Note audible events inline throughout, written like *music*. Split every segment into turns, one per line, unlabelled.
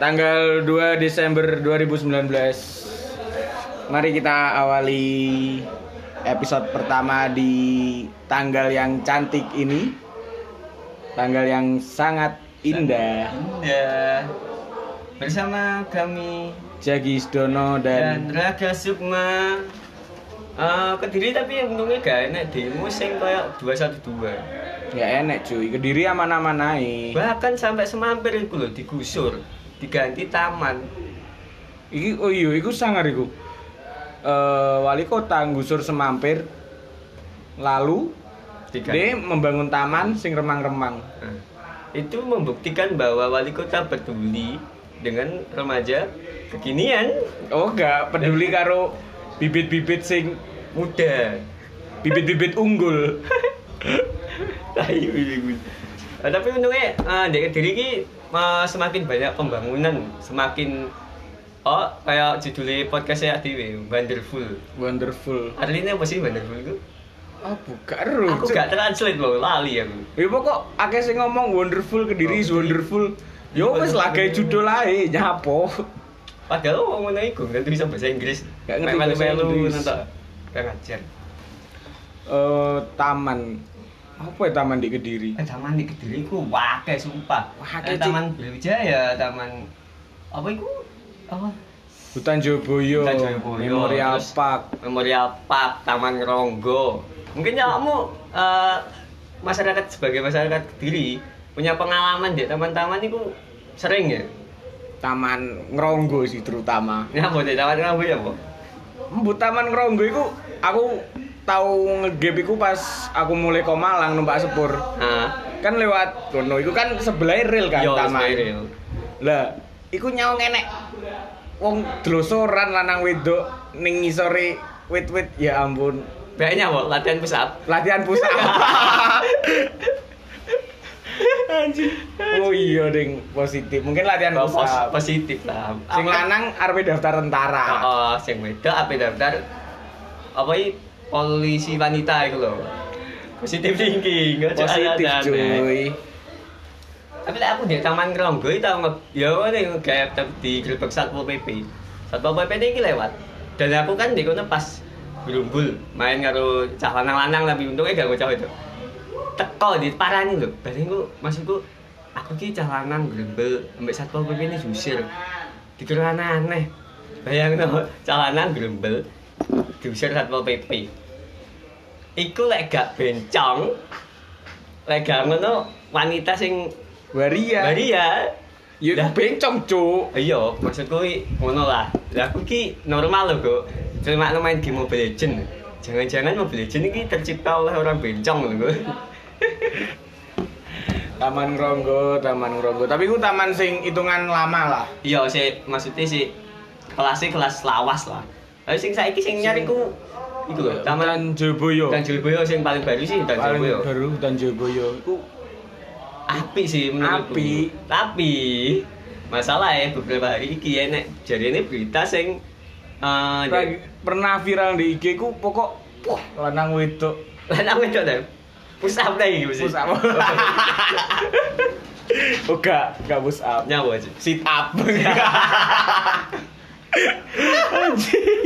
Tanggal 2 Desember 2019. Mari kita awali episode pertama di tanggal yang cantik ini. Tanggal yang sangat indah.
Indah. Bersama kami
Jagis Dono dan
dan Raga Sukma. Eh, kediri tapi untungnya gak enak demo sing kayak 212
ya enek cuy. Kediri aman-aman naik.
bahkan sampai semampir itu loh digusur diganti taman
Iki oh iya, iku sangar iku. Eh, wali kota ngusur semampir lalu dia
diganti
membangun taman sing remang-remang.
Eh, itu membuktikan bahwa wali kota peduli dengan remaja kekinian
Oh enggak, peduli karo bibit-bibit sing
muda
bibit-bibit unggul.
*laughs* Tahu ini gue. Eh, tapi untungnya eh, di Kediri ini eh, semakin banyak pembangunan, semakin oh kayak judulnya podcastnya ADW, Wonderful.
Wonderful.
Artinya apa sih Wonderful itu?
Oh, bukan ro.
Aku gak translate loh, lali aku.
Ya pokok akeh sing ngomong wonderful Kediri is
Oh,
wonderful. Yo wis lah gawe judul ae nyapo.
Padahal mau ngono iku nggak bisa bahasa Inggris.
Nggak ngerti
Main
bahasa
melu-melu,
Inggris.
nonton. Nggak ngajar.
Eh taman. Apa ya taman di Kediri?
Eh, taman di Kediri ku wakai sumpah.
Wakai,
Eh, taman Brawijaya, taman apa itu? Apa?
Hutan Joboyo,
Hutan Joyoboyo,
Memorial
terus-
Park.
Memorial Park Taman Ronggo. Mungkin kamu eh, masyarakat sebagai masyarakat Kediri punya pengalaman di taman-taman itu sering ya?
Taman Ngronggo sih terutama.
Nyapa di taman Ronggo ya, Bu?
Mbok Taman Ngronggo iku aku tahu ngegap iku pas aku mulai ke Malang numpak sepur.
Nah,
Kan lewat kono iku kan sebelah rel kan
Ah. yo
taman.
Spiril.
Lah, iku nyawa ngenek wong dlosoran lanang wedok ning ngisore wit-wit ya ampun.
Baiknya, Bu, latihan push up.
Latihan
*laughs*
pusat.
Anjir.
oh iya ding positif. Mungkin latihan pusat.
positif lah.
Sing
Oh, Apa-
lanang arep daftar tentara.
Oh, sing wedok apa daftar apa iki polisi wanita iku lho. Positif thinking. ojo
Positif
aneh-aneh.
cuy.
Tapi lek aku di Taman Ronggo iki tau nge ya ngene kayak di grebek Satpol PP. Satpol PP ini iki lewat. Dan aku kan di kono pas berumbul main karo cah lanang-lanang tapi untungnya gak ngocok itu. Teko di parani lho. Bareng ku maksudku aku ki cah lanang grembel ambek Satpol PP ini diusir. Dikira aneh-aneh. Bayangno cah lanang grembel diusir Satpol PP. Iku lek gak bencong lek gak ngono wanita sing
Waria.
Lah iya.
Ya
Lah.
bencong cuk.
Iya, maksudku i- ngono lah. Lah aku ki normal lho, Kok. Cuma main game Mobile Legend. Jangan-jangan Mobile Legend ini tercipta oleh orang bencong lho, Kok.
Taman Ronggo, Taman Ronggo. Tapi ku taman sing hitungan lama lah.
Iya, sih maksudnya sih kelasnya kelas lawas lah. Tapi sing saiki sing nyari ku iku lho, Taman
Joboyo.
Iya. Dan Jilboyo sing paling baru sih Dan
Paling
Jilboyo.
baru Hutan Joboyo. Ku
Api sih menurutku.
Api.
Tapi masalah ya beberapa hari iki enek jadi ini berita sing eh
lagi- pernah viral di IG ku pokok wah lanang wedok.
Lanang wedok ta? Push up ta iki mesti.
Push up. *laughs* Oga, gak push up.
Nyawa aja. Eh,
Sit *laughs* up.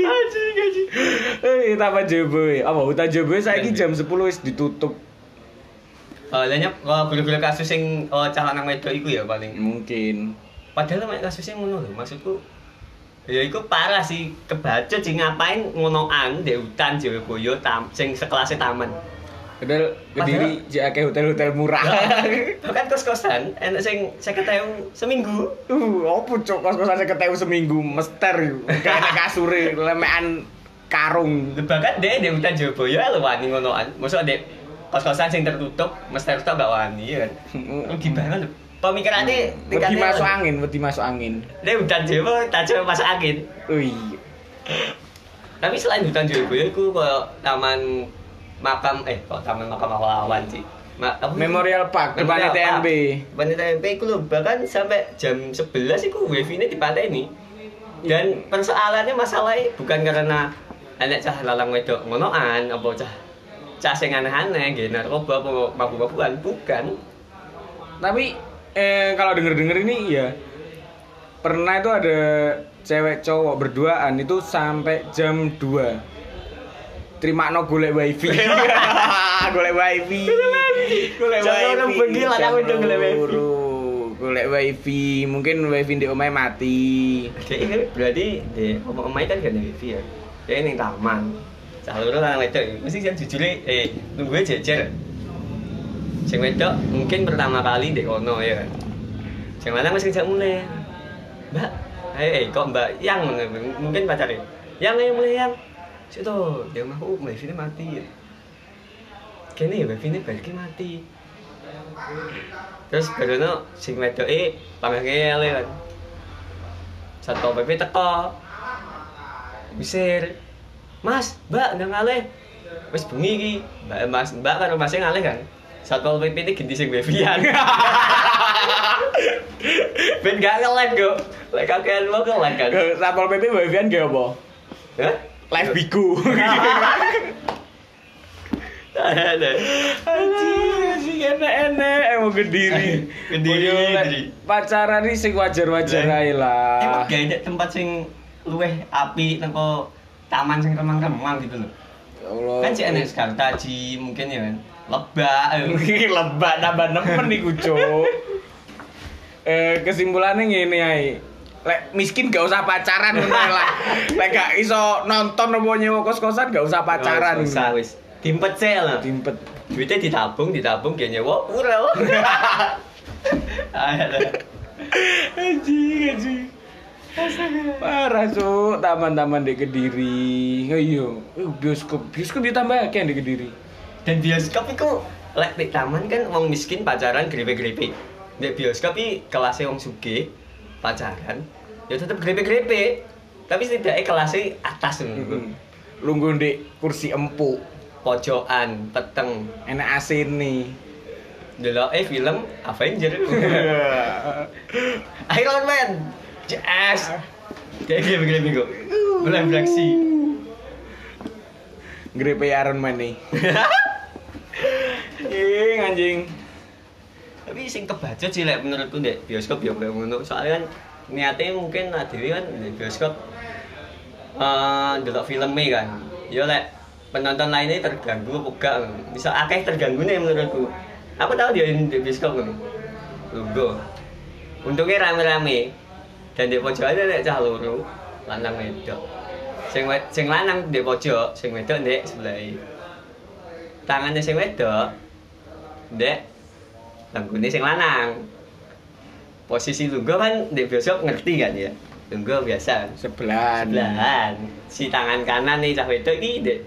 Aji gaji.
Eh, Taman Joboyo. Apa Hutan Joboyo saiki
Hutan
jam 10 wis ditutup
Oh, lha nyep oh, guru-guru kasus sing oh, cah lanang wedok iku ya paling.
mungkin.
Padahal mek kasusnya ngono lho, maksudku Ya iku parah sih, kebaca sih ngapain ngonoan di hutan Jayabaya tam sing sekelasnya
*laughs*
taman.
Padahal Kediri jek akeh hotel-hotel
*laughs*
murah.
Bahkan kos-kosan enak sing 50.000 seminggu.
Uh, opo cok kos-kosan saya ketemu seminggu mester yuk. Kayak nek kasure lemekan karung.
Lho, Bahkan deh di hutan eh, Jayabaya lu wani ngonoan. Maksud dek kos-kosan sing tertutup mesti tertutup gak wani ya kan. Rugi banget lho. Pemikirannya
Wedi
tingkatnya-
Hmm, masuk angin, wedi masuk angin.
Ini hutan Jawa, tak cuma masuk angin.
Ui.
Tapi selain hutan Jawa, aku kayak taman makam, eh kok taman makam pahlawan sih. Ma apa?
Memorial Park depan
Memorial
TNB.
Park. Depan TNB aku lho, bahkan sampai jam 11 aku wifi ini dipateni. Dan persoalannya masalahnya bukan karena anak cah lalang wedok ngonoan apa cah cah sing aneh-aneh gitu narkoba apa mabuk-mabukan bukan
Tapi eh kalau denger-denger ini ya iya. pernah itu ada cewek cowok berduaan itu sampai jam 2 terima no golek wifi *laughs* golek wifi golek
Jam loro bengi lah aku udah golek wifi.
loro. golek wifi mungkin wifi di omahe mati
Jadi kan berarti di omong omai kan gak ada wifi ya. Jadi neng taman. Jalur lah wedok. Mesti kan jujur eh nunggu jejer. Sing wedok mungkin pertama kali di kono ya kan. Sing lanang mesti ngejak mulai. Mbak, eh eh kok Mbak yang ngono, mungkin pacarnya. Yang yang mulai yang. Situ, dia mau wifi ini mati. Kene wifi ini balik mati. Terus barono sing wedoke pangangel ya kan. Satpol PP teko. Wisir. Mas, Mbak nang ngalih. Wis bengi iki. Mbak Mas, Mbak karo Mas ngalih kan. Satpol PP ini ganti sing Bevian. *laughs* ben gak ngelag kok. Lek kakean mau ngelag kan.
Ke Satpol PP wifi-an gak apa?
Hah?
Live *laughs* biku.
Ada.
Anjir, sih enak-enak emang kediri.
Kediri,
Boyo, lek
Kediri.
Pacaran iki sing wajar-wajar
Lah,
ae lah.
Emang gak ada tempat sing luweh api teko taman sing remang-remang gitu loh.
Ya Allah.
Kan sih enak sekali taji mungkin ya kan. Lebak. ya.
Mungkin *laughs* lebak nambah nemen iku, Cuk. Eh kesimpulannya ngene ae. Lek miskin gak usah pacaran ngono ae lah. Lek gak iso nonton apa nyewa kos-kosan gak usah pacaran.
Wis, Susah wis. Dimpecel lah.
Timpet.
Duitnya ditabung, ditabung gak nyewa Ah, iya,
*laughs*
pura. wah. Ayo, dah.
Anjing, anjing. Parah, Cuk. Taman-taman di Kediri. Oh iya, Eh, bioskop. Bioskop ditambah akeh di Kediri.
Dan bioskop itu lek di taman kan wong miskin pacaran grepe-grepe. Di bioskop iki kelasnya wong sugih pacaran ya tetep grepe-grepe. Tapi setidaknya kelasnya atas
Mm-mm.
ngono.
Lungguh di Gitu. kursi empuk.
Pojokan, peteng.
Enak asin nih.
Deloke film Avenger. Iron Man. Yes. Kayak grepe-grepe kok. Mulai beraksi.
Grepe Iron Man nih. Ing anjing.
tapi sing kebaca sih lek menurutku ndek bioskop ya kayak ngono soalnya kan niatnya mungkin nah dewe kan ndek bioskop eh ndelok filmnya kan ya lek penonton lainnya terganggu apa gak bisa akeh terganggu nih menurutku aku tahu dia di bioskop kan lungguh untungnya rame-rame dan di pojok ada lek cah loro lanang wedok sing wed- sing lanang di pojok sing wedok ndek sebelah tangannya sing wedok ndek langgune sing lanang. Posisi lungguh kan di bioskop ngerti kan ya. Lungguh biasa. kan?
Sebelahan.
Sebelahan. Si tangan kanan nih cah wedok iki di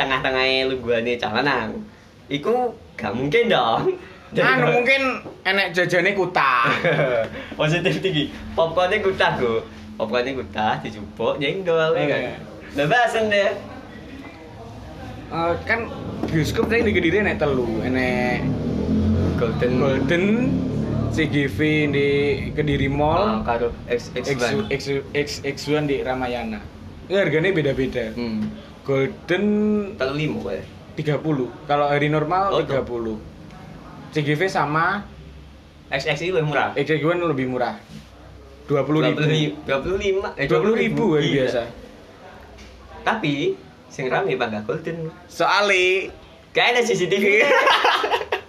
tengah-tengahnya lungguhane cah lanang. Iku gak mungkin dong.
Anu mungkin enek jajane kutah.
*laughs* Positif tinggi. Popcornnya gutah go. Popcornnya gutah dijupuk jengdol ya kan.
Iya.
Bebasan deh.
Eh, kan bioskop tadi di Kediri enek telu, enek
Golden
Golden, CGV di Kediri
Mall
Mall,
karo Ah, X X
X1 X- X1 di Ramayana. Ini harganya beda-beda.
Hmm.
Golden
Telu limo kayak.
30. Kalau hari
Oh,
normal
tuh.
30. CGV sama
XX itu lebih murah.
X1 lebih murah. 20 ribu.
20 lima eh
20 ribu hari
Iya.
biasa.
tapi sing rame bangga golden
Soalnya
gak ada *laughs* CCTV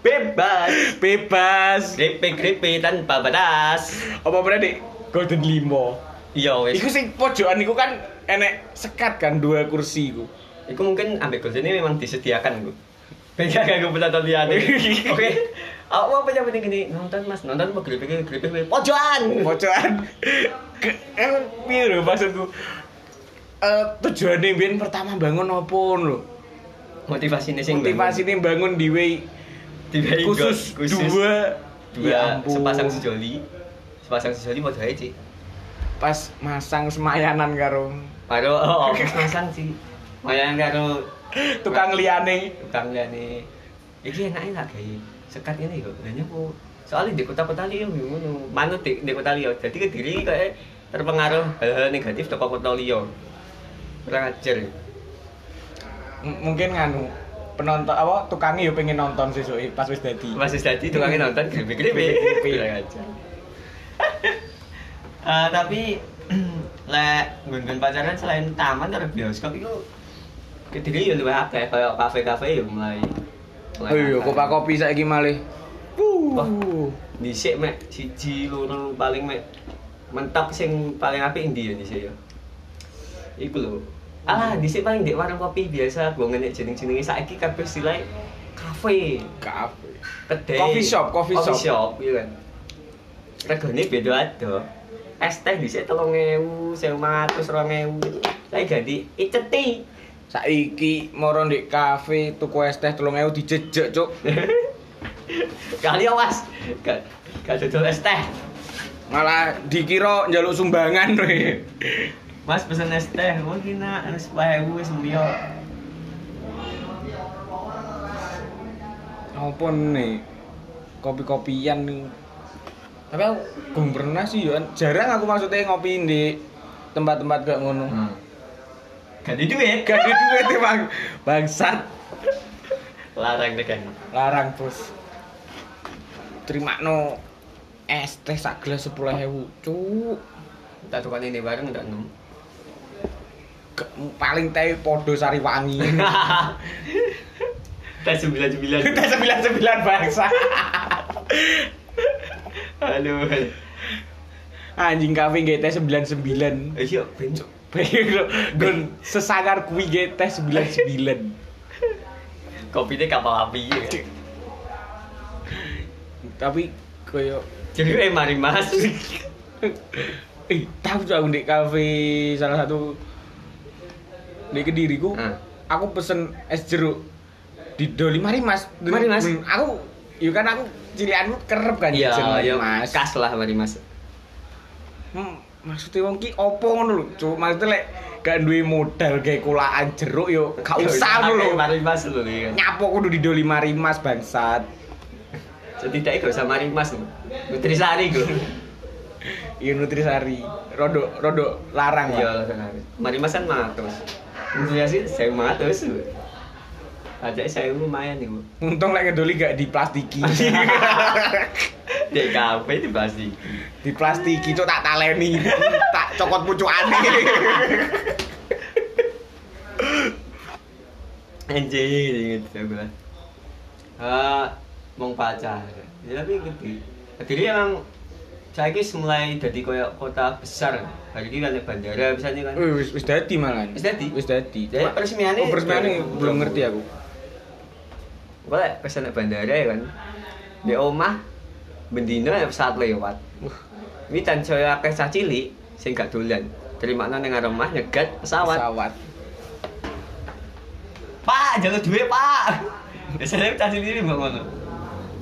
bebas
bebas.
grepe grepe tanpa batas
Apa bener Dik? Golden Limo.
iya wes
Iku sing pojokan iku kan enek sekat kan dua kursi iku.
Iku mungkin ambil golden ini memang *laughs* disediakan gue Pengen gak gue penonton lihat *laughs* Oke Aku apa yang penting gini Nonton mas, nonton apa grepe grepe grepe Pojokan *laughs*
Pojokan. Ke eh, piye lho maksudku? Eh tujuane biyen pertama bangun apa lho?
Motivasi ini sing
Motivasi ini bangun di way
Tiba
khusus, dua Ya
Dua
ampun.
Sepasang sejoli Sepasang sejoli mau aja sih
pas masang semayanan karo
Baru *laughs* oh, mas-masan sih Mayan karo
tukang liyane
tukang liane iki enak enak kayak sekat ini kok dan nyapu soalnya di kota kota liyo ngono manut di, di kota liyo jadi kediri kayak terpengaruh hal-hal negatif toko kota liyo kurang ajar ya.
M- mungkin nganu penonton apa tukangnya yo pengen nonton sesuk pas wis dadi
*laughs* masih tadi tukangnya nonton gede gede
Grepe-grepe.
kurang ajar Eh, *clears throat* tapi lek nggon pacaran selain taman karo bioskop itu kediri yo luwih akeh kayak kafe-kafe yo mulai. mulai
Oh iya,
akeh.
kopi kopi saiki malih. Wuh.
Dhisik mek siji loro paling mek mentok sing paling apik endi ya dhisik ya. Iku lho. Alah, dhisik paling ndek warung kopi biasa gua ngenek jeneng-jenenge saiki kabeh silai kafe.
Kafe.
kedai
Coffee shop, coffee shop.
shop iya kan regane beda ada es teh di sini telung ewu seumatus rong ewu saya ganti iceti
Saiki moro ndek kafe tuku es teh 3000 dijejek, Cuk.
kali awas gak gak jajal es teh
Malah dikira njaluk sumbangan *laughs* we.
mas pesen es teh mau kena harus pakai ewu sembiyo
Apa nih? Kopi-kopian nih. Tapi aku belum pernah sih, Yon. Jarang aku maksudnya ngopi di tempat-tempat gak ngono.
Hmm. ganti duit
Gak ada duit ya, Bang. Bangsat.
larang deh kan
Larang, Bos. Terima no es teh sak gelas 10.000, Cuk.
tak tukar ini bareng udah *laughs* enam
Gak- paling teh podo sari wangi.
*laughs* tes sembilan sembilan
Kita sembilan sembilan bangsa.
halo halo
Anjing kafe nggak teh sembilan sembilan.
iya bencok
Gun sesangar kui nggak teh sembilan sembilan.
kopinya kapal api ya kan?
Tapi koyo
jadi eh mari mas
eh tahu tuh aku di kafe salah satu di kediriku
Hmm.
aku pesen es jeruk di doli mari mas Dan-
Mari, Mas.
dan Hmm, aku yuk kan aku cilianku kerep kan
Iya,
jajan,
iya,
mas
Kas lah mari Mas.
Hmm, maksudnya wong ki opo ngono lho, Cuk. Maksudnya lek gak duwe modal gawe kulaan jeruk yo gak usah ngono lho.
Oke, iya, Mari Mas lho iya.
Nyapo kudu didoli mari mas bangsat.
Jadi tidak gak usah mari Mas. lho. Nutrisari go.
Iya nutrisari. Rodo rodo larang
Iya
ya.
lah kan. Mari Mas kan mah terus. Nutrisari saya mah terus. lho. Aja saya lumayan nih. Bu.
Untung lek kedoli gak *laughs*
*laughs*
diplastiki.
Di kafe di pasti.
diplastiki cuk tak taleni. tak cokot pucukane.
Anjing gitu gue. Eh, mau pacar. Ya tapi gede. Jadi emang saya kis mulai jadi koyo kota besar. Hari ini kan ada bandara misalnya kan.
*laughs* Wih, Wis wis dadi malan.
Wis dadi? ya?
Wis dadi.
Jadi
Cuma-
peresmiannya-
Oh, peresmiannya belum ngerti aku.
Gue lek pesen nang bandara ya kan. Di omah bendina ya pesawat lewat. Ini tan saya akeh cah cilik sing gak dolan. Terimana ning ngarep omah nyegat pesawat.
Pesawat.
Pak, jalur duwe, Pak. Biasanya cah cilik mbok ngono.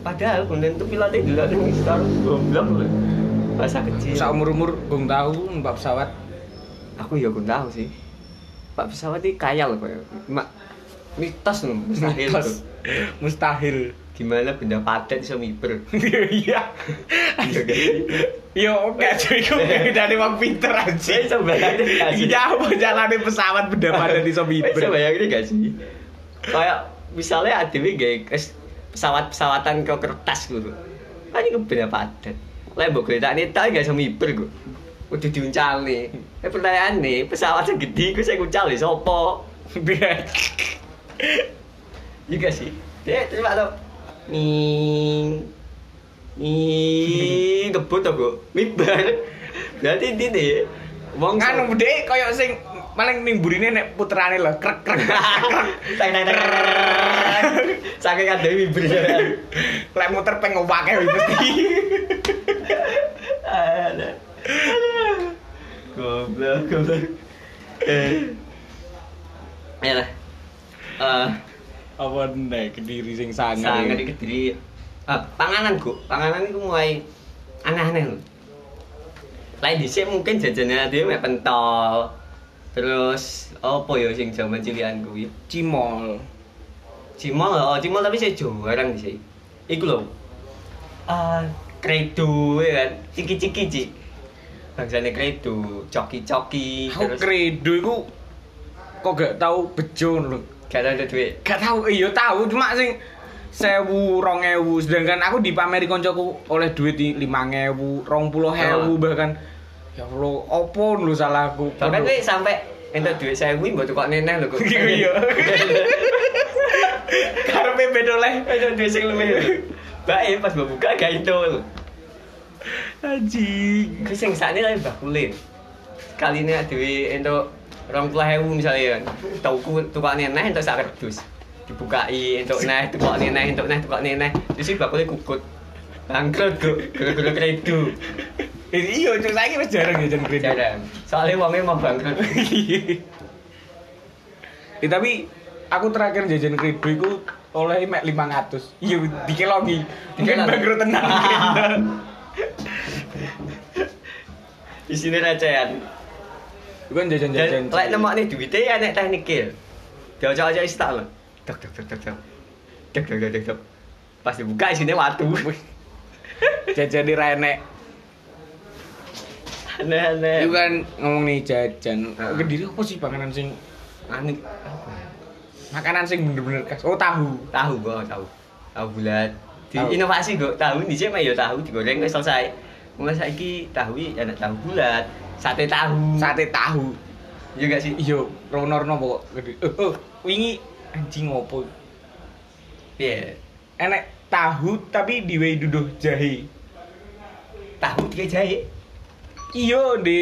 Padahal konten tuh pilotnya dolan ning sekitar goblok lho. Bahasa kecil.
Sak umur-umur gong tahu numpak pesawat.
Aku ya kurang tahu sih. Pak pesawat ini kaya loh kayak. Mak mitos loh, mustahil.
Mitos.
tuh.
Mustahil.
Gimana benda paten bisa miber?
*laughs* Iya.
Iya kan?
Yo, *laughs* oke, cuy, iku dari wong pinter aja.
Saya bayangin gak sih?
Iya, apa jalane pesawat benda pada di
Saya
*laughs* Sobiber?
bayangin ya, gak sih? Kayak misalnya ADW gak kes- pesawat-pesawatan ke kertas gitu. Kan ini beda padat. Lah mbok kereta ini tak gak sama miber gue. Udah diuncal nih. Eh pertanyaan nih, pesawat yang gede gue saya ya, uncal nih sopo. Iya gak sih? Ya terima tau. Nih. Nih, kebut tau gue. Miber. Berarti ini nih. Wong
Kan
so-
udah koyo sing paling nimburine nek puterane lho, krek krek.
*laughs* *laughs* Teng, teng,
*laughs*
teng, teng. Saking ya. ada wiber
Lek muter peng ngopake wis mesti.
Goblok, goblok. Eh. Ya lah. Eh,
Apa nek kediri sing sangar.
sangat kediri. Ah, panganan kok. Panganan itu mulai aneh-aneh lho. Lain dhisik mungkin jajanan dia mek pentol. Terus opo ya sing jaman cilian kuwi?
Cimol.
Cimol lho, cimol tapi saya jarang sih. Iku lho. Eh, kredo ya kan. Ciki-ciki, Cik. Bangsane kredo, coki-coki
Aku kredo iku kok gak tau bejo lho.
gak ada duit.
Gak tahu, iya tahu cuma sing sewu rong ewu sedangkan aku dipameri koncoku oleh duit di lima ewu rong puluh ewu
Oh.
bahkan Ya Allah, opo lho salahku.
Sampai kowe sampe entuk dhuwit 1000 mbok tukok neneh lho kok.
Iku iya. Karepe beda oleh.
Entuk dhuwit sing luwih. lho. Bae eh, pas mbok buka gak entul.
Anjing.
Kuwi sing sakne lagi bakule. Sekali nek dhewe entuk 20.000 misalnya kan. Tuku tukok neneh entuk sak redus. Dibukai entuk neh, tukok neneh, entuk neh, tukok neneh. Terus si bakule kukut. Bangkrut kok, gara-gara kredo.
Eh, Iya, cuk saiki wis jarang jajan kredit.
Jarang. Soalnya wonge mau bangkrut.
Eh, tapi aku terakhir jajan kredit iku oleh mek 500. Iya, dikelogi. Mungkin
Dikelogi.
bangkrut tenang.
Di sini recehan.
Iku kan jajan-jajan.
Dan lek nemokne duwite ya nek teknikil. Diocok-ocok istak lho. Dok dok dok dok dok. Dok dok dok dok, dok. Pas dibuka isine *laughs* watu.
Jajan di renek.
Aneh-aneh.
Iku kan ngomong nih jajan.
Heeh.
Kediri apa sih makanan sing
aneh.
makanan sing bener-bener khas? Oh, tahu.
Tahu kok tahu. Tahu bulat. Di
Tahu.
inovasi kok tahu dhisik mah ya tahu digoreng wis selesai. Mulai saiki tahu ya enak tahu bulat. Sate tahu.
Sate tahu.
Iya gak sih?
Iya, ronorno pokok gede. Eh, eh, wingi anjing ngopo?
Iya.
Enek tahu tapi diwehi duduh jahe.
Tahu tiga jahe.
Iya di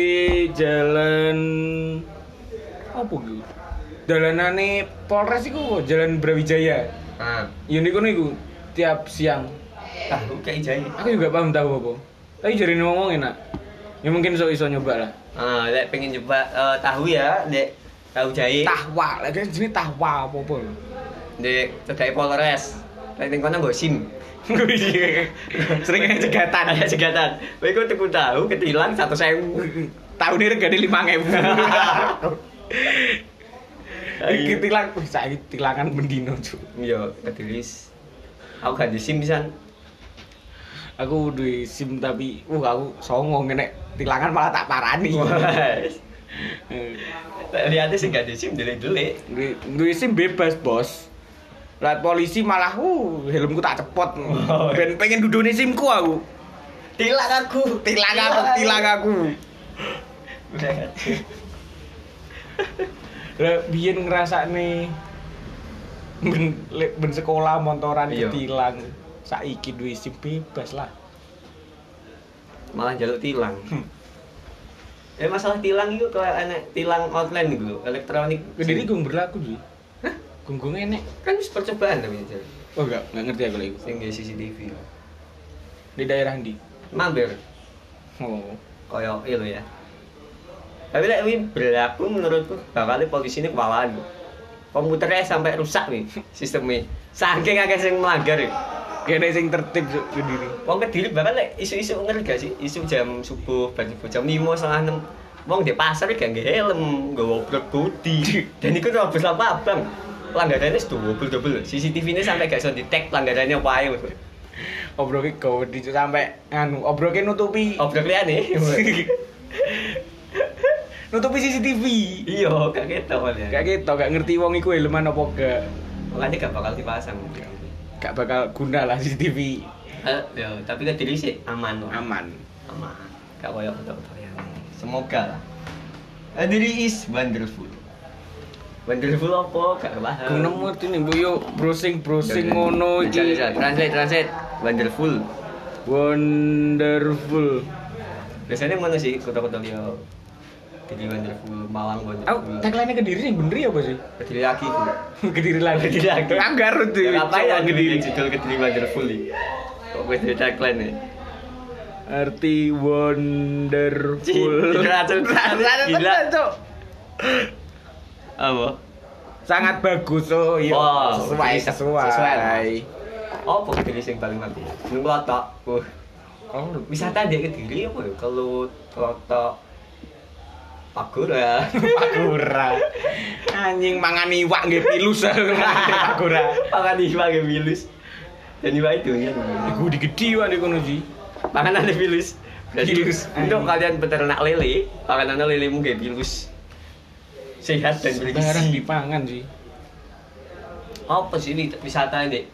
jalan apa gitu? Dalanane Polres iku kok, Jalan Brawijaya.
Ah,
Ya niku niku tiap siang.
tahu kayak jahe.
Aku juga paham tahu apa. Tapi jarine ngomong enak. Ya mungkin sok iso nyoba lah.
Ah, lek pengen coba eh, tahu ya, lek tahu jahe.
Tahwa, lagi jenis tahwa apa-apa. lho.
di cedai Polres Lek ning kono nggo
*laughs*
SIM.
Sering ada cegatan.
Ada cegatan. Kowe iku tuku tahu ketilang 100.000.
Tahun ini regane 5000. *laughs* Iki tilang, wih, saiki tilangan mendino, Cuk.
Iya, ketulis. Aku ganti SIM pisan.
Aku duwe SIM tapi wah aku songo nek tilangan malah tak parani.
Wes.
*laughs* Eh,
Lek liyate sing ganti SIM delik-delik.
Duwe duwe SIM bebas, Bos. Lah polisi malah uh helmku tak cepot.
Wow.
Ben pengen dudune SIMku aku.
Tilang aku, Iya.
Tilang aku, tilang aku.
kan?
Lah biyen ngrasakne ben lek ben sekolah montoran
Iya.
ditilang. Saiki duwe SIM bebas lah.
Malah jaluk tilang.
Hmm.
Eh masalah tilang itu kalau enak tilang online gitu, elektronik.
Kediri gung berlaku sih. Hah? Gung gung enek.
kan wis percobaan tapi Jel.
Oh enggak, enggak ngerti aku lagi.
sing nggo CCTV.
Di daerah ndi?
Mampir.
Oh.
koyo itu ya tapi lek kuwi berlaku menurutku bakal polisi ini kewalan komputernya sampai rusak nih *laughs* sistemnya saking akeh sing melanggar ya.
Kene sing tertib Cuk, Kediri.
wong kediri bahkan lek isu-isu ngerti gak sih isu jam subuh bar subuh jam lima setengah enam wong di pasar gak nggak helm gak obrol body *laughs* dan itu robos apa abang pelanggarannya sudah double double CCTV ini sampai gak bisa detect pelanggarannya apa aja
Obroke gawe di Cuk, sampe anu, obroke nutupi
obrol nih
*laughs* nutupi CCTV.
*laughs* iya gak ketok malah.
Gak ketok, gak gitu, ngerti wong iku helman apa gak.
Makanya gak bakal dipasang.
Gak bakal guna lah CCTV.
Eh, ya, tapi kan diri sih aman loh.
Aman.
Aman. Gak koyo foto-foto yang ini. Semoga lah. Eh, diri is wonderful. Wonderful apa? Gak paham.
Gue nemu ngerti nih, Bu, yuk browsing-browsing
Jangan-
ngono
jangan-
iki.
jangan. Translate, translate. Wonderful.
Wonderful.
Biasanya mana sih kota-kota dia? Jadi wonderful, Malang
Aku
wonderful.
tagline Kediri sing bener ya apa sih? *laughs*
Kediri lagi itu.
Kediri lagi.
Kediri lagi.
Aku Garut tuh.
Ya, ngapain
Coba
ya Kediri? Judul Kediri wonderful nih. Kok gue jadi tagline e? nih?
Arti wonderful.
Cih,
*laughs*
gila, Cuk. Gila.
Gila tuh.
Apa?
Sangat bagus oh iya.
Wah,
sesuai
Kediri
sesuai.
sesuai. Apa Kediri sing paling mati? Nunggu otak. Wah.
Oh, lu-
wisata di Kediri apa ya? Kelut, ya. Klotok, *laughs* Pagura.
Pakura. Anjing mangan iwak nggih
*laughs*
pilus Pakura.
Pangan iwa ke bilus. Dan iwa itu ya.
Iku digedi wae kono ji.
Panganan di bilus. Berarti
Bilus.
untuk kalian peternak lele, panganan lele mungkin bilus. Sehat dan
Barang
bergizi.
dipangan sih.
Apa sih ini wisata ini?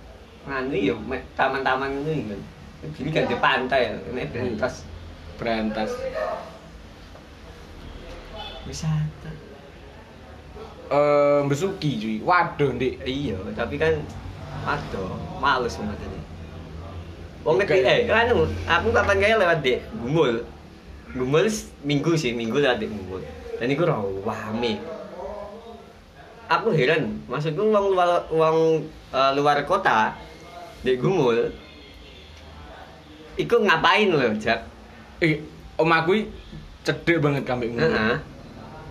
Nganu ya, me- taman-taman ya. Hmm. ini kan. Kediri kan di pantai, ini berantas.
Berantas.
Wisata.
Eh, besuki cuy. Waduh, Dik.
Iya, tapi kan waduh, males banget ini. Wong
Oke.
ngerti eh kan aku kapan kaya lewat Dek Gumul. Gumul s- minggu sih, minggu lewat Dek Gumul. Dan iku rame. Aku heran, maksudku wong luar wong eh, luar kota Dek Gumul iku ngapain loh, Jak?
Eh, om aku i cedek banget kambing gumul.
Heeh.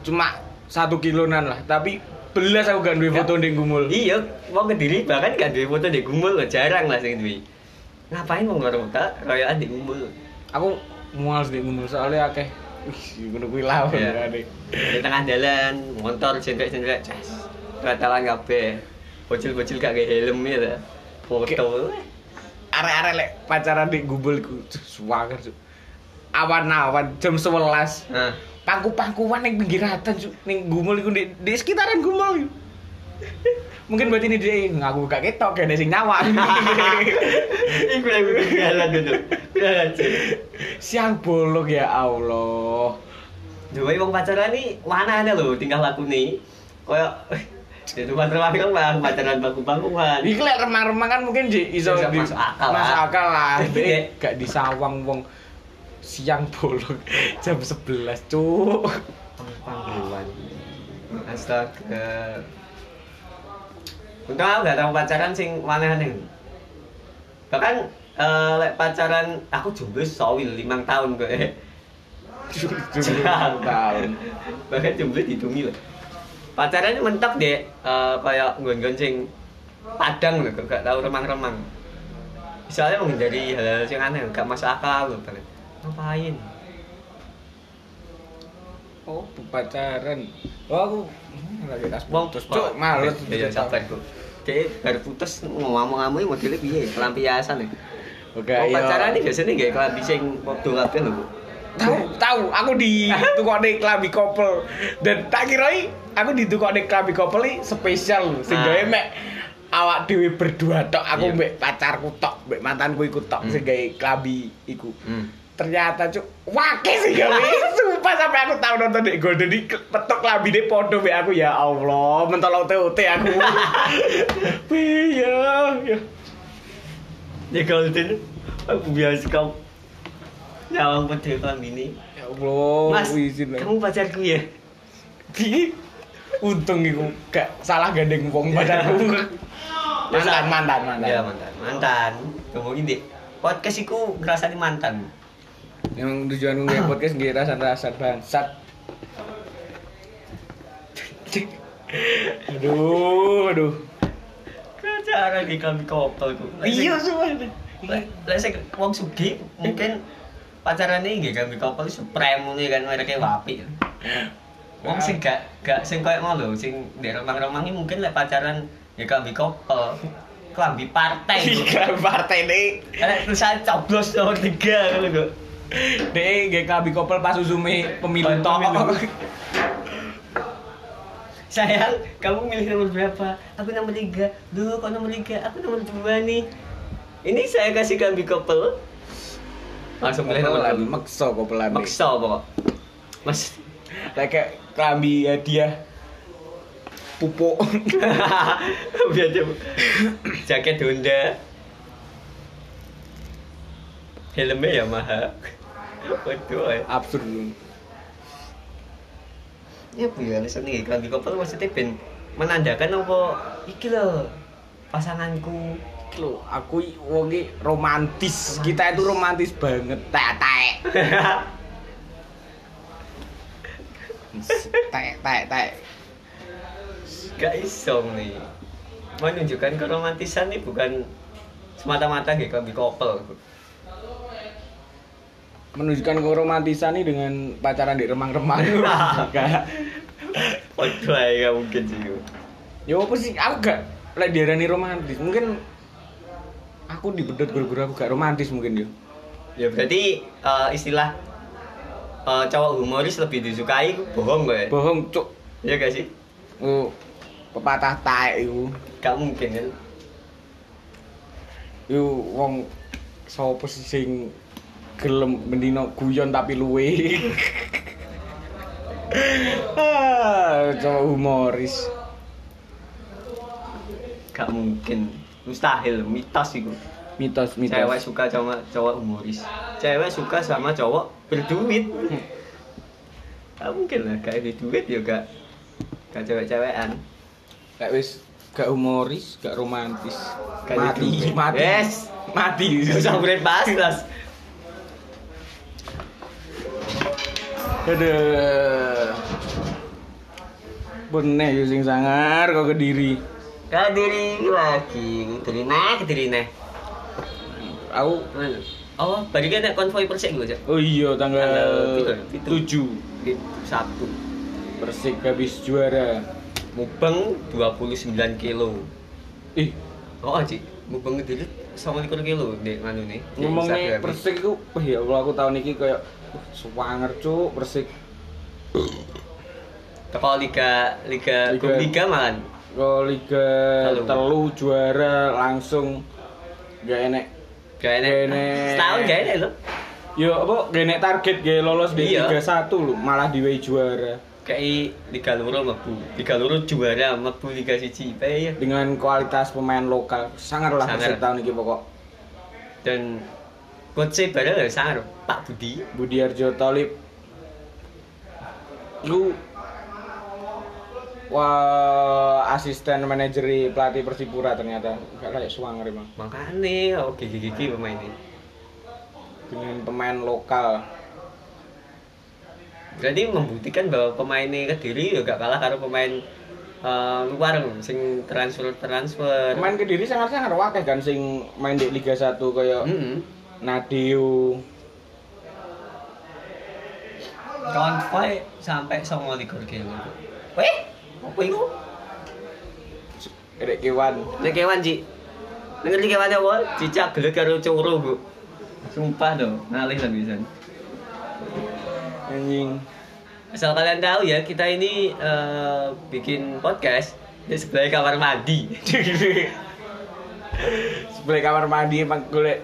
Cuma satu kilonan lah, tapi belas aku gak duwe
Ya.
foto ndek gumul.
Iya, wong Kediri bahkan gak duwe foto Dek Gumul, loh, jarang lah sing duwe. Ngapain wong luar kota royokan Dek Gumul?
Aku mual ndek gumul soalnya akeh. Wih, ngono kuwi lawan
Iya.
ya, Dik.
di tengah jalan motor jendrek-jendrek cas ratalan kabeh bocil-bocil gak kayak helm ya ta. foto
Arek-arek lek pacaran ndek gumul ku suwanger, Cuk. Awan-awan jam 11.
*laughs* nah
pangku-pangkuan yang pinggir ratan Cuk. ning gumul iku di, di sekitaran gumul yuk. *laughs* mungkin berarti ini dia ngaku gak ketok kayak sing nyawa
*laughs* ini gue lagi jalan dulu jalan sih
siang bolong ya Allah
coba wong pacaran nih mana ada loh tinggal laku nih *laughs* kayak itu pacaran kan bang pacaran baku bakuan
Iki lek remang-remang kan mungkin di iso
Bisa
di-
masuk akal lah.
masuk akal
*laughs*
lah.
Iya.
Dek, gak disawang wong siang bolong *laughs* jam 11 cuk.
pangkuan astaga untung aku gak tau pacaran sing mana aneh bahkan eh, lek pacaran aku jomblo sawil limang tahun kok eh
Cuk, cuk,
*laughs*
cuk, tahun.
bahkan jomblo dihitungi lah pacaran mentok deh eh, kayak gon-gon sing padang loh gak tau remang-remang misalnya menghindari hal-hal yang aneh gak masuk akal loh bahkan. ngapain
Oh, pacaran. Oh, aku hmm, lagi tas
Wong
putus, cuk, males.
Iya, sabar, Cuk. Dia baru putus ngomong-ngomong modelnya piye? Kelampiasan ya.
Oke,
Wong
iya.
pacaran iki biasanya nggak kelambi sing podo kabeh lho, Bu.
tahu tahu aku
*laughs*
di tukokne klambi kopel dan tak kiroi aku di tukokne klambi kopel ini spesial loh sehingga
Ah.
mek awak dewi berdua tok aku
Iya.
mek pacarku tok mek mantanku ikut tok
Hmm.
sehingga klambi iku
Hmm.
ternyata cuk wake sih gawe sumpah sampai aku tahu nonton dek golden di petok klambi dek podo mek aku ya Allah mentolong TOT aku *laughs* iya iya.
Ya Golden. Aku biasa kau nyawang podo kelambi ini.
ya Allah
Oh, iya, Mas,
izin lah.
kamu pacarku ya?
Ki untung iku gak salah gandeng wong *laughs* pacarku. mantan, mantan, mantan.
Iya, mantan. Mantan. Ngomongin deh. Podcast iku ngrasani mantan.
Yang tujuan gue *laughs* podcast nggih rasan-rasan bangsat. *laughs* aduh, aduh.
Kacara di kami kopel ku. Lah, sing-
Iya semua ini.
Lek lek sing wong sugih mungkin pacarane nggih gambi couple supreme ngono kan mereka wapi. Wong sing gak gak sing koyo ngono lho, sing ndek romang-romangi mungkin lek pacaran ya gambi couple. Kelambi partai lho.
Tiga Iya, partai deh.
Lek tulisan coblos nomor 3 ngono lho.
Deh, gak kabi kopel pas uzume pemilu
Pemilu.
tok.
Sayang, kamu milih nomor berapa? Aku nomor 3. Duh, kok nomor 3? Aku nomor 2 nih. Ini saya kasih gambi couple. Langsung milih nomor
Kopelan,
dua.
Maksa kopelan. deh.
Maksa pokok. Mas,
Lek kayak klambi hadiah pupuk. *laughs*
*laughs* biar dia jaket Honda helmnya Yamaha waduh ya
Absurd lu.
ya punya alasan nih kalau di kopel maksudnya ben menandakan apa iki loh pasanganku
lo aku i- wong i romantis kita itu romantis banget tek tek tek tek tek
gak iso nih menunjukkan keromantisan nih bukan semata-mata gitu kalau di kopel
menunjukkan keromantisan nih dengan pacaran di *laughs* remang-remang Gak.
waduh ya gak mungkin sih
ya apa sih aku gak lek diarani romantis mungkin aku dipedot gara-gara aku gak romantis mungkin yo
ya berarti eh, istilah eh, cowok humoris lebih disukai bohong ya? gue
bohong cuk
Iya gak sih?
oh pepatah taek iku
Gak mungkin kan?
yo wong sapa sih sing gelem mendino guyon tapi luwe *laughs* Ah, cowok humoris.
Gak mungkin. Mustahil, mitos itu.
Mitos, mitos.
Cewek suka sama cowok humoris. Cewek suka sama cowok berduit. Gak mungkin lah, gak ada duit ya gak. Gak cewek-cewekan.
Lek wis gak humoris, gak romantis.
Gak
mati,
jadi.
mati.
Yes.
Mati.
Gak usah gue bahas Las.
Aduh. Benek yo sing sangar kok kediri.
Gak diri lagi, diri nah, diri nah.
Aku
Oh, bari kan konvoy persik gue aja.
Oh iya
Tanggal
tanggal
pitu, pitu.
7
Sabtu.
Persik habis juara.
Mubeng 29 kilo.
Ih,
Oh, Cik. Mubeng diri sama likur kilo di mana nih? di
ngomongnya
Instagram.
Persik itu, wah ya Allah aku tahun ini kayak uh, swanger cuk Persik.
Teko liga liga
Liga.
liga, liga malan.
Kalau Liga
Telu.
telu juara langsung gak enek.
Gak enak.
Gak enak.
Setahun gak enak lho.
Yo apa gak enek target gak lolos di
Iya.
Liga 1 lho, malah diwehi juara
Kayak liga loro mlebu. Liga loro juara mlebu liga siji. iya. Pay
dengan kualitas pemain lokal. Sangar lah
Sangar.
Persik tahun ini pokok.
dan coach bareng ya sangar Pak Budi.
Budi Arjo Tolib lu wah asisten manajer pelatih Persipura ternyata gak kayak Suwanger emang
Makanya oh gigi-gigi pemainnya.
dengan pemain lokal
Berarti membuktikan bahwa pemainnya Kediri ya gak kalah karo pemain eh, luar sing transfer-transfer.
pemain kediri sangat sangat wakil kan sing main di Liga 1 kayak
Mm-mm.
Nadio
Konvoy sampai sama likur kilo. Weh, apa itu?
Erik Kiwan
Nek kewan Ci. Denger iki kewan apa? Cicak gelut karo curu, Bu. Sumpah tuh, ngalih lah pisan.
anjing *laughs*
Asal kalian tahu ya, kita ini eh, bikin podcast di sebelah kamar mandi. *laughs*
sebelah kamar mandi emang golek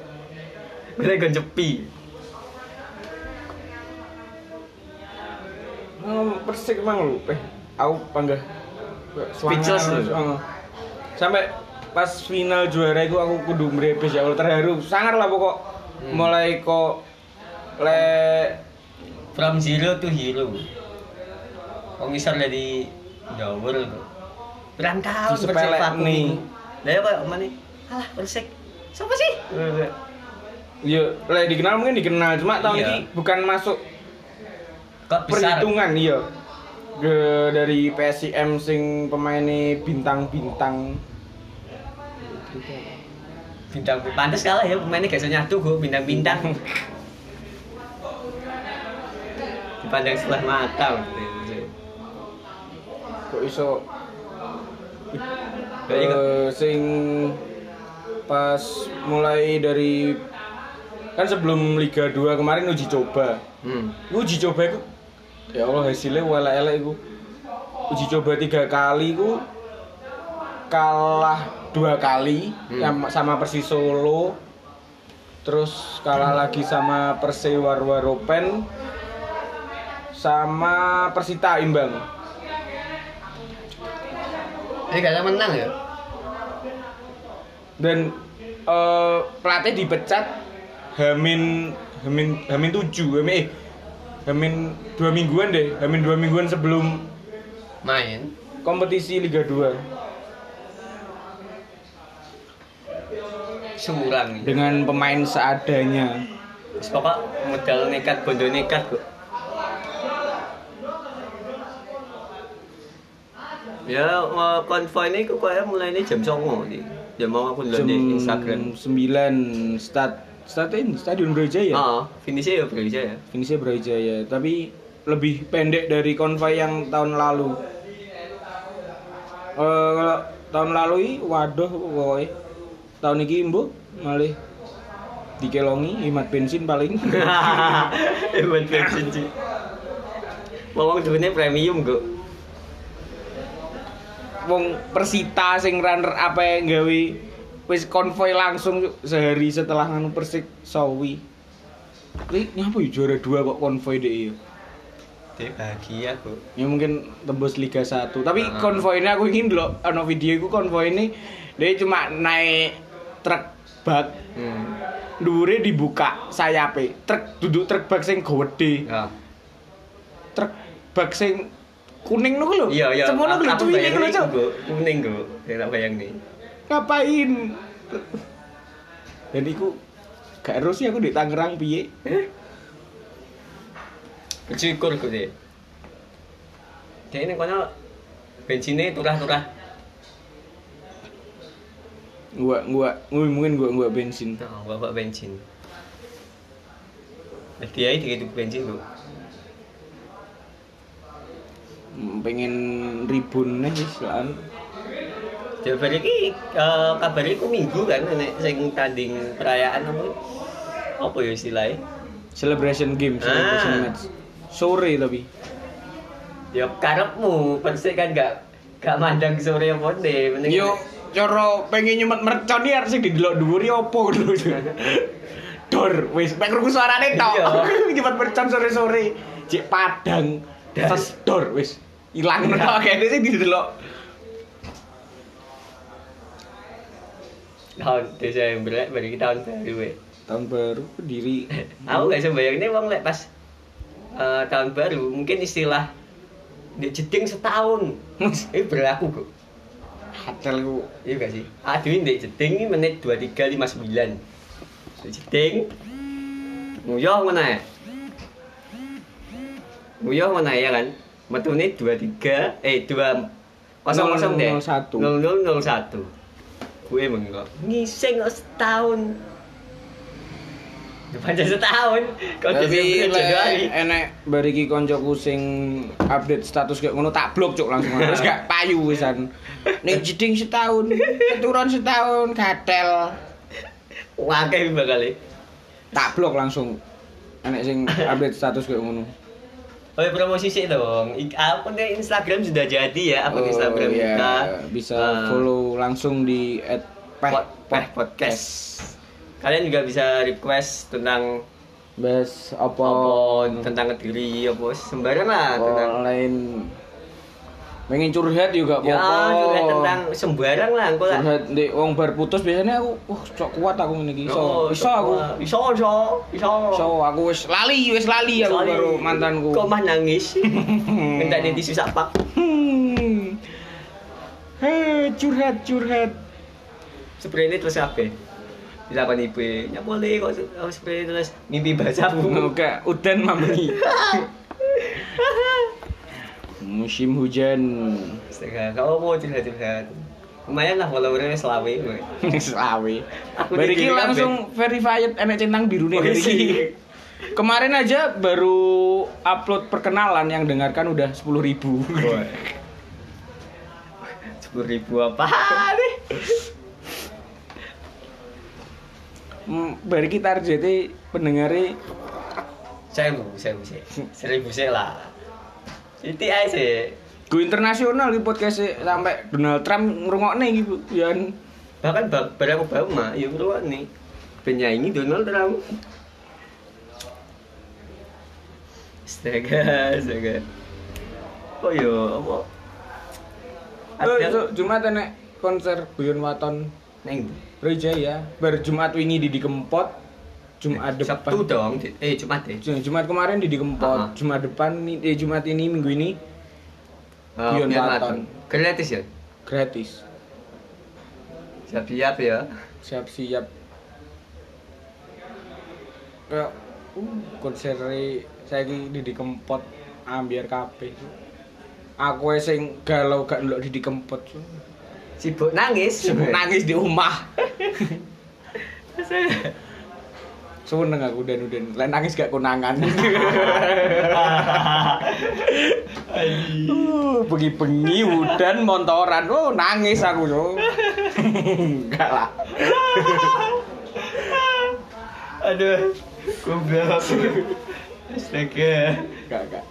Boleh gon jepi.
Oh, persik emang lu eh aku panggah
Speechless lu.
Heeh. sampai pas final juara itu aku kudu mrebes ya Allah terharu sangar lah pokok
Hmm.
mulai kok le
From zero to hero. Kok ngisor dari dawur kok. Berang tahun
Disepelek nih.
Lah ya kok mana? Alah, persik. Siapa sih?
ya le dikenal mungkin dikenal cuma tahun
Iya.
ini bukan masuk
Kok besar?
perhitungan iya Ke- dari PSIM sing pemainnya bintang-bintang
bintang pantas kalah ya pemainnya gak bisa nyatu gue bintang-bintang *laughs* dipandang sebelah mata Iya,
kok iso
Gak inget.
Eh, sing pas mulai dari kan sebelum Liga 2 kemarin uji coba
hmm.
uji coba itu ya Allah hasilnya elek-elek itu uji coba tiga kali itu kalah dua kali
Hmm.
yang sama Persis Solo terus kalah lagi sama Persewa Waropen sama Persita imbang
ini gak ada menang ya
dan eh, pelatih dipecat Hamin Hamin Hamin tujuh Hamin eh, Hamin dua mingguan deh Hamin dua mingguan sebelum
main
kompetisi Liga 2
suram gitu
dengan pemain seadanya
Terus pokok modal nekat bondo nekat kok ya eh, konvoy ini kok kayaknya mulainya jam songo nih jam mau aku dulu di Instagram
9 stat statin Stadion Brawijaya
oh finishnya ya Brawijaya *laughs* ya
finishnya Brawijaya tapi lebih pendek dari konvoy yang tahun lalu Eh, kalau tahun lalu i waduh pokoknya tahun ini mbok malih dikelongi hemat bensin paling
Hebat bensin sih. Ngomong duitnya premium kok.
wong Persita sing runner apa yang gawe wis konvoy langsung sehari setelah nganu Persik Sowi. Kuwi nyapa ya juara dua kok konvoy deh ya.
Dek bahagia, Bu.
Ya mungkin tembus Liga 1. Tapi
Heeh.
konvoi ini aku ingin dulu ono video iku konvoi ini dia cuma naik truk bak
Hmm.
dhuwure dibuka sayape. Truk duduk truk bak sing gede.
Ya.
Truk bak sing kuning niku lho.
Iya, iya.
Semono
Aku-
lho
aku
cuwine
bayangin
iku lho, Cuk.
iku, Bu. Kuning, Bu. Saya tak bayang nih.
Ngapain? Dan iku gak ero sih aku di Tangerang piye.
Bersyukur ku deh. Dek ini kono bensinnya turah-turah.
Gua gua gua- mungkin gua gua bensin.
Nah, bapak Oh, bensin. Eh, Dia itu gitu bensin, Bu.
Hmm, Pengen ribun aja silaan.
Dia balik iki eh, kabar iku minggu kan nek sing tanding perayaan apa apa ya istilahnya?
Celebration game, celebration
Ah.
match. Sore tapi.
Ya karepmu, persik kan gak gak mandang sore apa deh, penting
Yo cara pengen nyumet mercon iki arep sing didelok dhuwur ya apa ngono. Dor, wis mek krungu suarane tok. *laughs*
Iya.
Nyumet mercon sore-sore. Cek padang,
Dan-
terus dor wis ilang
Iya.
tok kene sing didelok.
tahun Desember balik iki tahun baru ya.
Tahun baru pendiri.
Aku gak sembayang ini wong lek pas eh, tahun baru mungkin istilah di jeding setahun. *laughs* Ini berlaku kok.
Hatel ku.
Iya gak sih? Aduh ini jeding ini menit 2359. Di jeding. Nguyuh ngono ae. Nguyuh ngono ae, ya kan. Metune 23 eh 2 00 deh.
0001.
0001. Gue mengko. Ngising kok setahun. Pancen setahun. Kok
Tapi
Desember,
lek
Januari.
enek bariki koncoku sing update status kayak ngono tak blok cuk langsung terus
*laughs*
gak payu wisan. Nek jeding setahun, keturun setahun, gatel.
Wakai bakal e.
tak blok langsung enek
*laughs*
sing update status kayak ngono
Oh ya, promosi sih dong. Ik- Akun di Instagram sudah jadi ya,
Oh,
akun Instagram
iya.
kita.
bisa
Eh,
follow langsung di at
Peh, Peh podcast. Kalian juga bisa request tentang
best apa
apa, tentang kediri, apa sembarang lah
apa
tentang.
lain pengen curhat juga apa
Ya, juga tentang sembarang lah, engko lah.
curhat di wong bar putus biasanya aku wah cok kuat aku ngene iki iso
Oh,
iso aku
Iso, iso, iso.
iso aku wis lali wis lali aku
Sorry.
baru mantanku
Kok mah
*laughs*
nangis? Minta di tisu sapak.
Hmm. Heh, curhat curhat
Spray ini terus apa? Dilakukan ibu. Ya boleh kok oh, spray ini terus mimpi baca
*laughs*
bu.
Oke, udan mambengi. Musim hujan
Astaga, kau mau curhat-curhat. Lumayan lah followernya selawe.
Selawe.
Aku
Bariki
dikira,
langsung verified enek centang biru nih
Oh,
bariki.
isi.
Kemarin aja baru upload perkenalan yang dengarkan udah 10.000 ribu.
Sepuluh ribu apa nih?
Bariki targetnya pendengari
Saya bu, saya bu sih. Seribu sih lah. Itu aja sih.
go internasional di podcast sampai Donald Trump ngrungokne iki Bu. Yan.
Bahkan ba- Barack Obama, ya bro nih. Penyanyi Donald Trump. Astaga, astaga. Oh yo, apa?
Oh,
Ada
esuk Jumat enek konser Guyon Waton
neng.
Reja ya, berjumat wingi di Kempot, Jumat depan. Iya,
Sabtu dong, Dit. eh Jumat deh.
Jum- Jumat kemarin di Kempot,
Ah.
Jumat depan nih, eh, Jumat ini minggu ini
Oh,
Bion
Bion
Marathon.
Marathon. Gratis ya?
gratis.
Siap-siap ya.
Siap-siap. Ya, uh, konser saya di Kempot ambiar kabeh. Cuk. Aku ae sing galau gak ndelok di Kempot. Cuk.
Sibuk nangis.
Sibuk nangis di rumah. Seneng aku dan udan. Lain nangis gak konangan. Uh, bengi-bengi udan montoran. Oh, nangis aku, Cuk. *laughs* Enggak lah.
Aduh. Goblok. Astaga.
Enggak, enggak.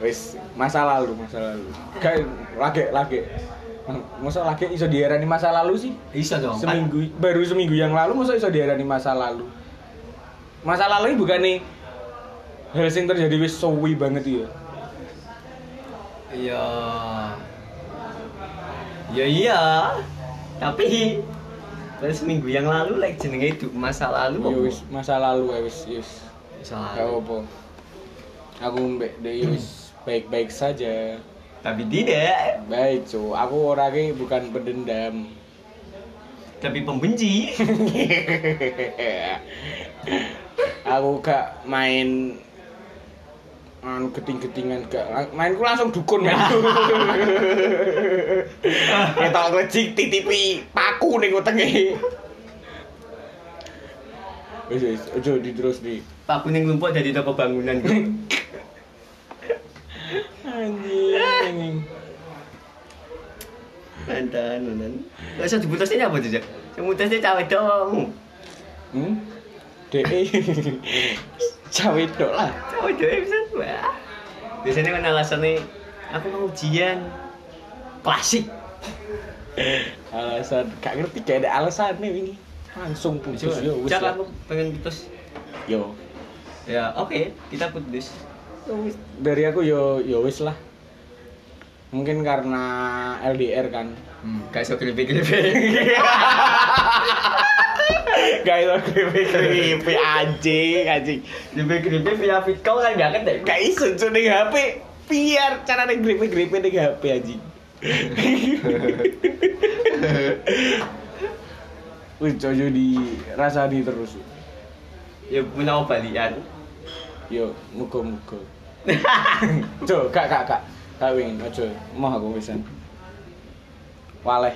Wis, masa lalu, masa lalu. Kayak lagi lagi. Masa lagi iso diarani masa lalu sih?
Bisa dong. Kan?
Seminggu baru seminggu yang lalu masa iso diarani masa lalu. Masa lalu ini bukan nih hal sing terjadi wis suwi banget ya.
Iya. Ya iya. Tapi baru seminggu yang lalu like jenenge hidup masa lalu.
Ya
apa?
wis masa lalu ya wis wis.
Masa
Gak
lalu.
apa. Aku mbek dhewe wis baik-baik saja.
Tapi tidak.
Baik, cu. Aku orangnya bukan pendendam.
Tapi *laughs* pembenci.
aku gak main anu keting-ketingan gak mainku langsung dukun men. Ketok klecik titipi paku ning wetenge. Wis wis ojo diterus di.
Pak kuning lumpuh dari toko bangunan. *laughs* Bro.
Anjing.
Mantan, mantan. Gak usah dibutuhin apa jejak. Semutasnya cawe dong.
Hmm? *laughs* De. Cawe dok lah.
Cawe dong bisa wah. Biasanya kan alasannya aku mau ujian klasik.
Alasan gak ngerti gak ada alasannya wingi. Langsung putus yo wis.
Cak
lah.
aku pengen putus.
Yo.
Ya oke kita putus.
Ya dari aku yo yo wis lah mungkin karena LDR kan
Hmm, gak iso *laughs* grepe-grepe.
gak iso kripi kripi anjing anjing
Grepe-grepe via fit call kan gak ketek.
gak iso cu ning HP biar carane kripi kripi ning HP anjing *laughs* wis cojo di rasani terus Cuk.
Ya menawa balian.
yo mugo mugo *laughs* Cuk, gak gak gak gak wingin ojo mau aku wisan waleh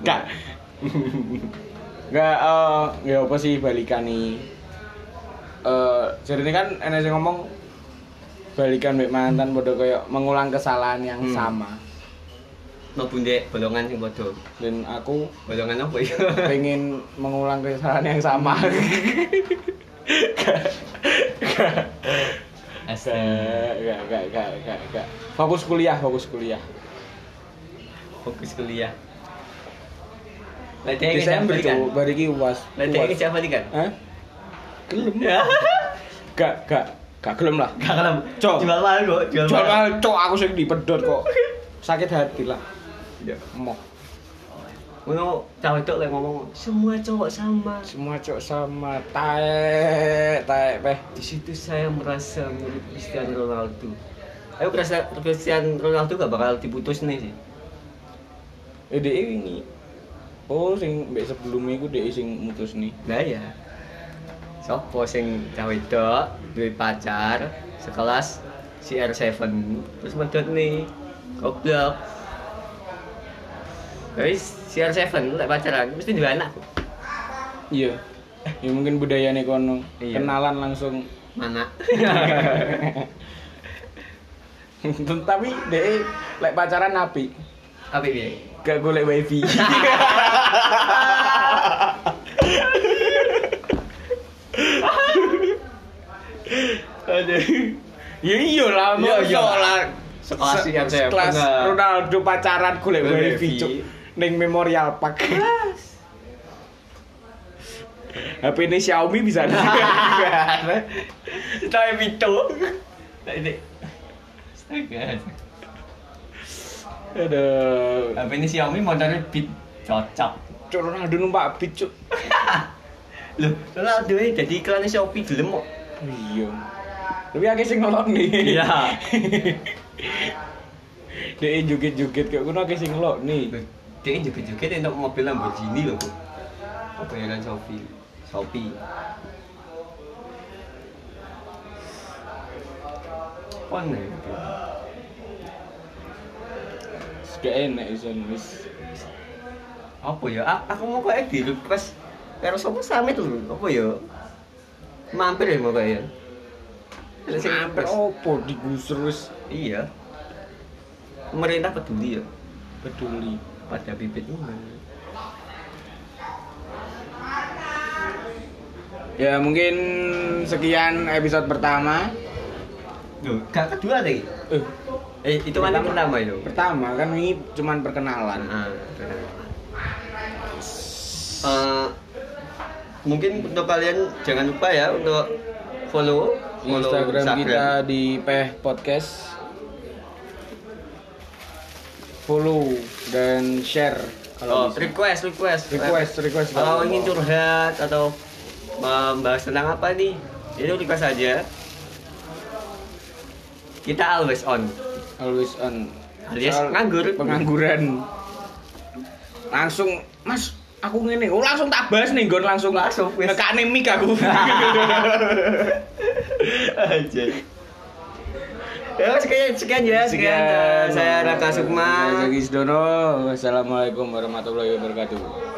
gak *laughs* Enggak, eh ya apa sih balikan nih? Eh, jadi ini kan enak sing ngomong balikan mek mantan bodoh kayak mengulang kesalahan yang
Hmm.
sama.
No bundek bolongan sing padha.
Dan aku
Bolongan apa ya? *laughs*
pengen *laughs* mengulang kesalahan yang sama. *laughs* Gak- gak- gak- gak- gak- gak- gak- gak. Fokus kuliah, fokus kuliah.
Fokus kuliah. Lah dia ngejak
Desember
balikan.
tuh, bariki uas.
Lah dia
uas.
ngejak balikan.
Hah? Gelem.
*laughs* Ya.
Gak, gak, gak gelem lah.
Gak kalem.
Cok.
Jual mahal kok, jual
Jual
mahal.
mahal, cok aku sing dipedot kok. Sakit hati lah.
Ya.
Emoh.
Ngono cowok itu lek ngomong semua cowok sama.
Semua cok sama tae tae peh.
Di situ saya merasa mirip Cristiano Ronaldo. Aku kerasa Cristiano Ronaldo gak bakal diputus nih sih.
Eh dhek wingi. Oh sing mbek sebelumnya iku dhek sing mutus nih.
Nah ya. Sopo sing cah wedok duwe pacar sekelas CR7 terus medot nih. Goblok. Ya Wis CR7 lek pacaran mesti duwe anak.
Iya. Eh, Ya mungkin budayane kono.
Iya.
Kenalan langsung. *laughs*
Mana?
Tapi dhek lek pacaran api.
Apa piye?
Gak golek wifi.
Aduh.
*laughs* Ya iya lah,
Iya,
mosok
iya.
lah.
Sekelas
Se-
yang saya
sekelas
pernah.
Ronaldo pacaran golek
Golek
wifi
wifi.
cuk. Ning Memorial Park. HP ini Xiaomi bisa ada.
Tahu itu. Ini. Astaga.
*laughs* Aduh.
Apa ini Xiaomi motornya Beat cocok.
Cuk Ronaldo numpak beat cuk.
Loh, Ronaldo ini jadi iklannya Shopee gelem
Oh,
kok.
Iya. Tapi akeh sing ngelok nih. *laughs*
Iya.
Dia joget-joget kayak ngono akeh sing ngelok nih.
Dia joget-joget untuk mobil Lamborghini loh kok. Kebayaran Shopee. Shopee. Pon ya.
Sudah enak iso wis.
Apa ya? A- aku mau kayak gitu, di request Terus apa summit lho? Apa ya? Mampir ya mau kayak. Terus yang
Sampai
request.
opo digusur wis
Iya. Pemerintah peduli ya
peduli.
pada bibit unggul.
Ya mungkin sekian episode pertama.
Duh, gak kedua lagi.
Eh,
Eh, itu kan yang pertama Ah, itu.
pertama kan ini cuman
Nah,
perkenalan.
Ah, Eh, mungkin untuk kalian jangan lupa ya untuk follow
Di
follow
Instagram, kita di Peh Podcast. Follow dan share
Oh,
kalau bisa.
request, request.
Request, request.
Kalau ingin
mau.
curhat atau membahas tentang apa nih, itu request aja. Kita always
*laughs*
on.
always on.
Alias
Soal
nganggur.
Pengangguran. Langsung, Mas, aku ngene. Oh, langsung tak bahas nih gon langsung
Langsung, wis.
Ngekakne mic
*laughs*
aku.
aja. Ya, sekian, sekian ya. Sekian. Saya Raka Sukma.
Saya Zaki Sidono. Wassalamualaikum warahmatullahi wabarakatuh.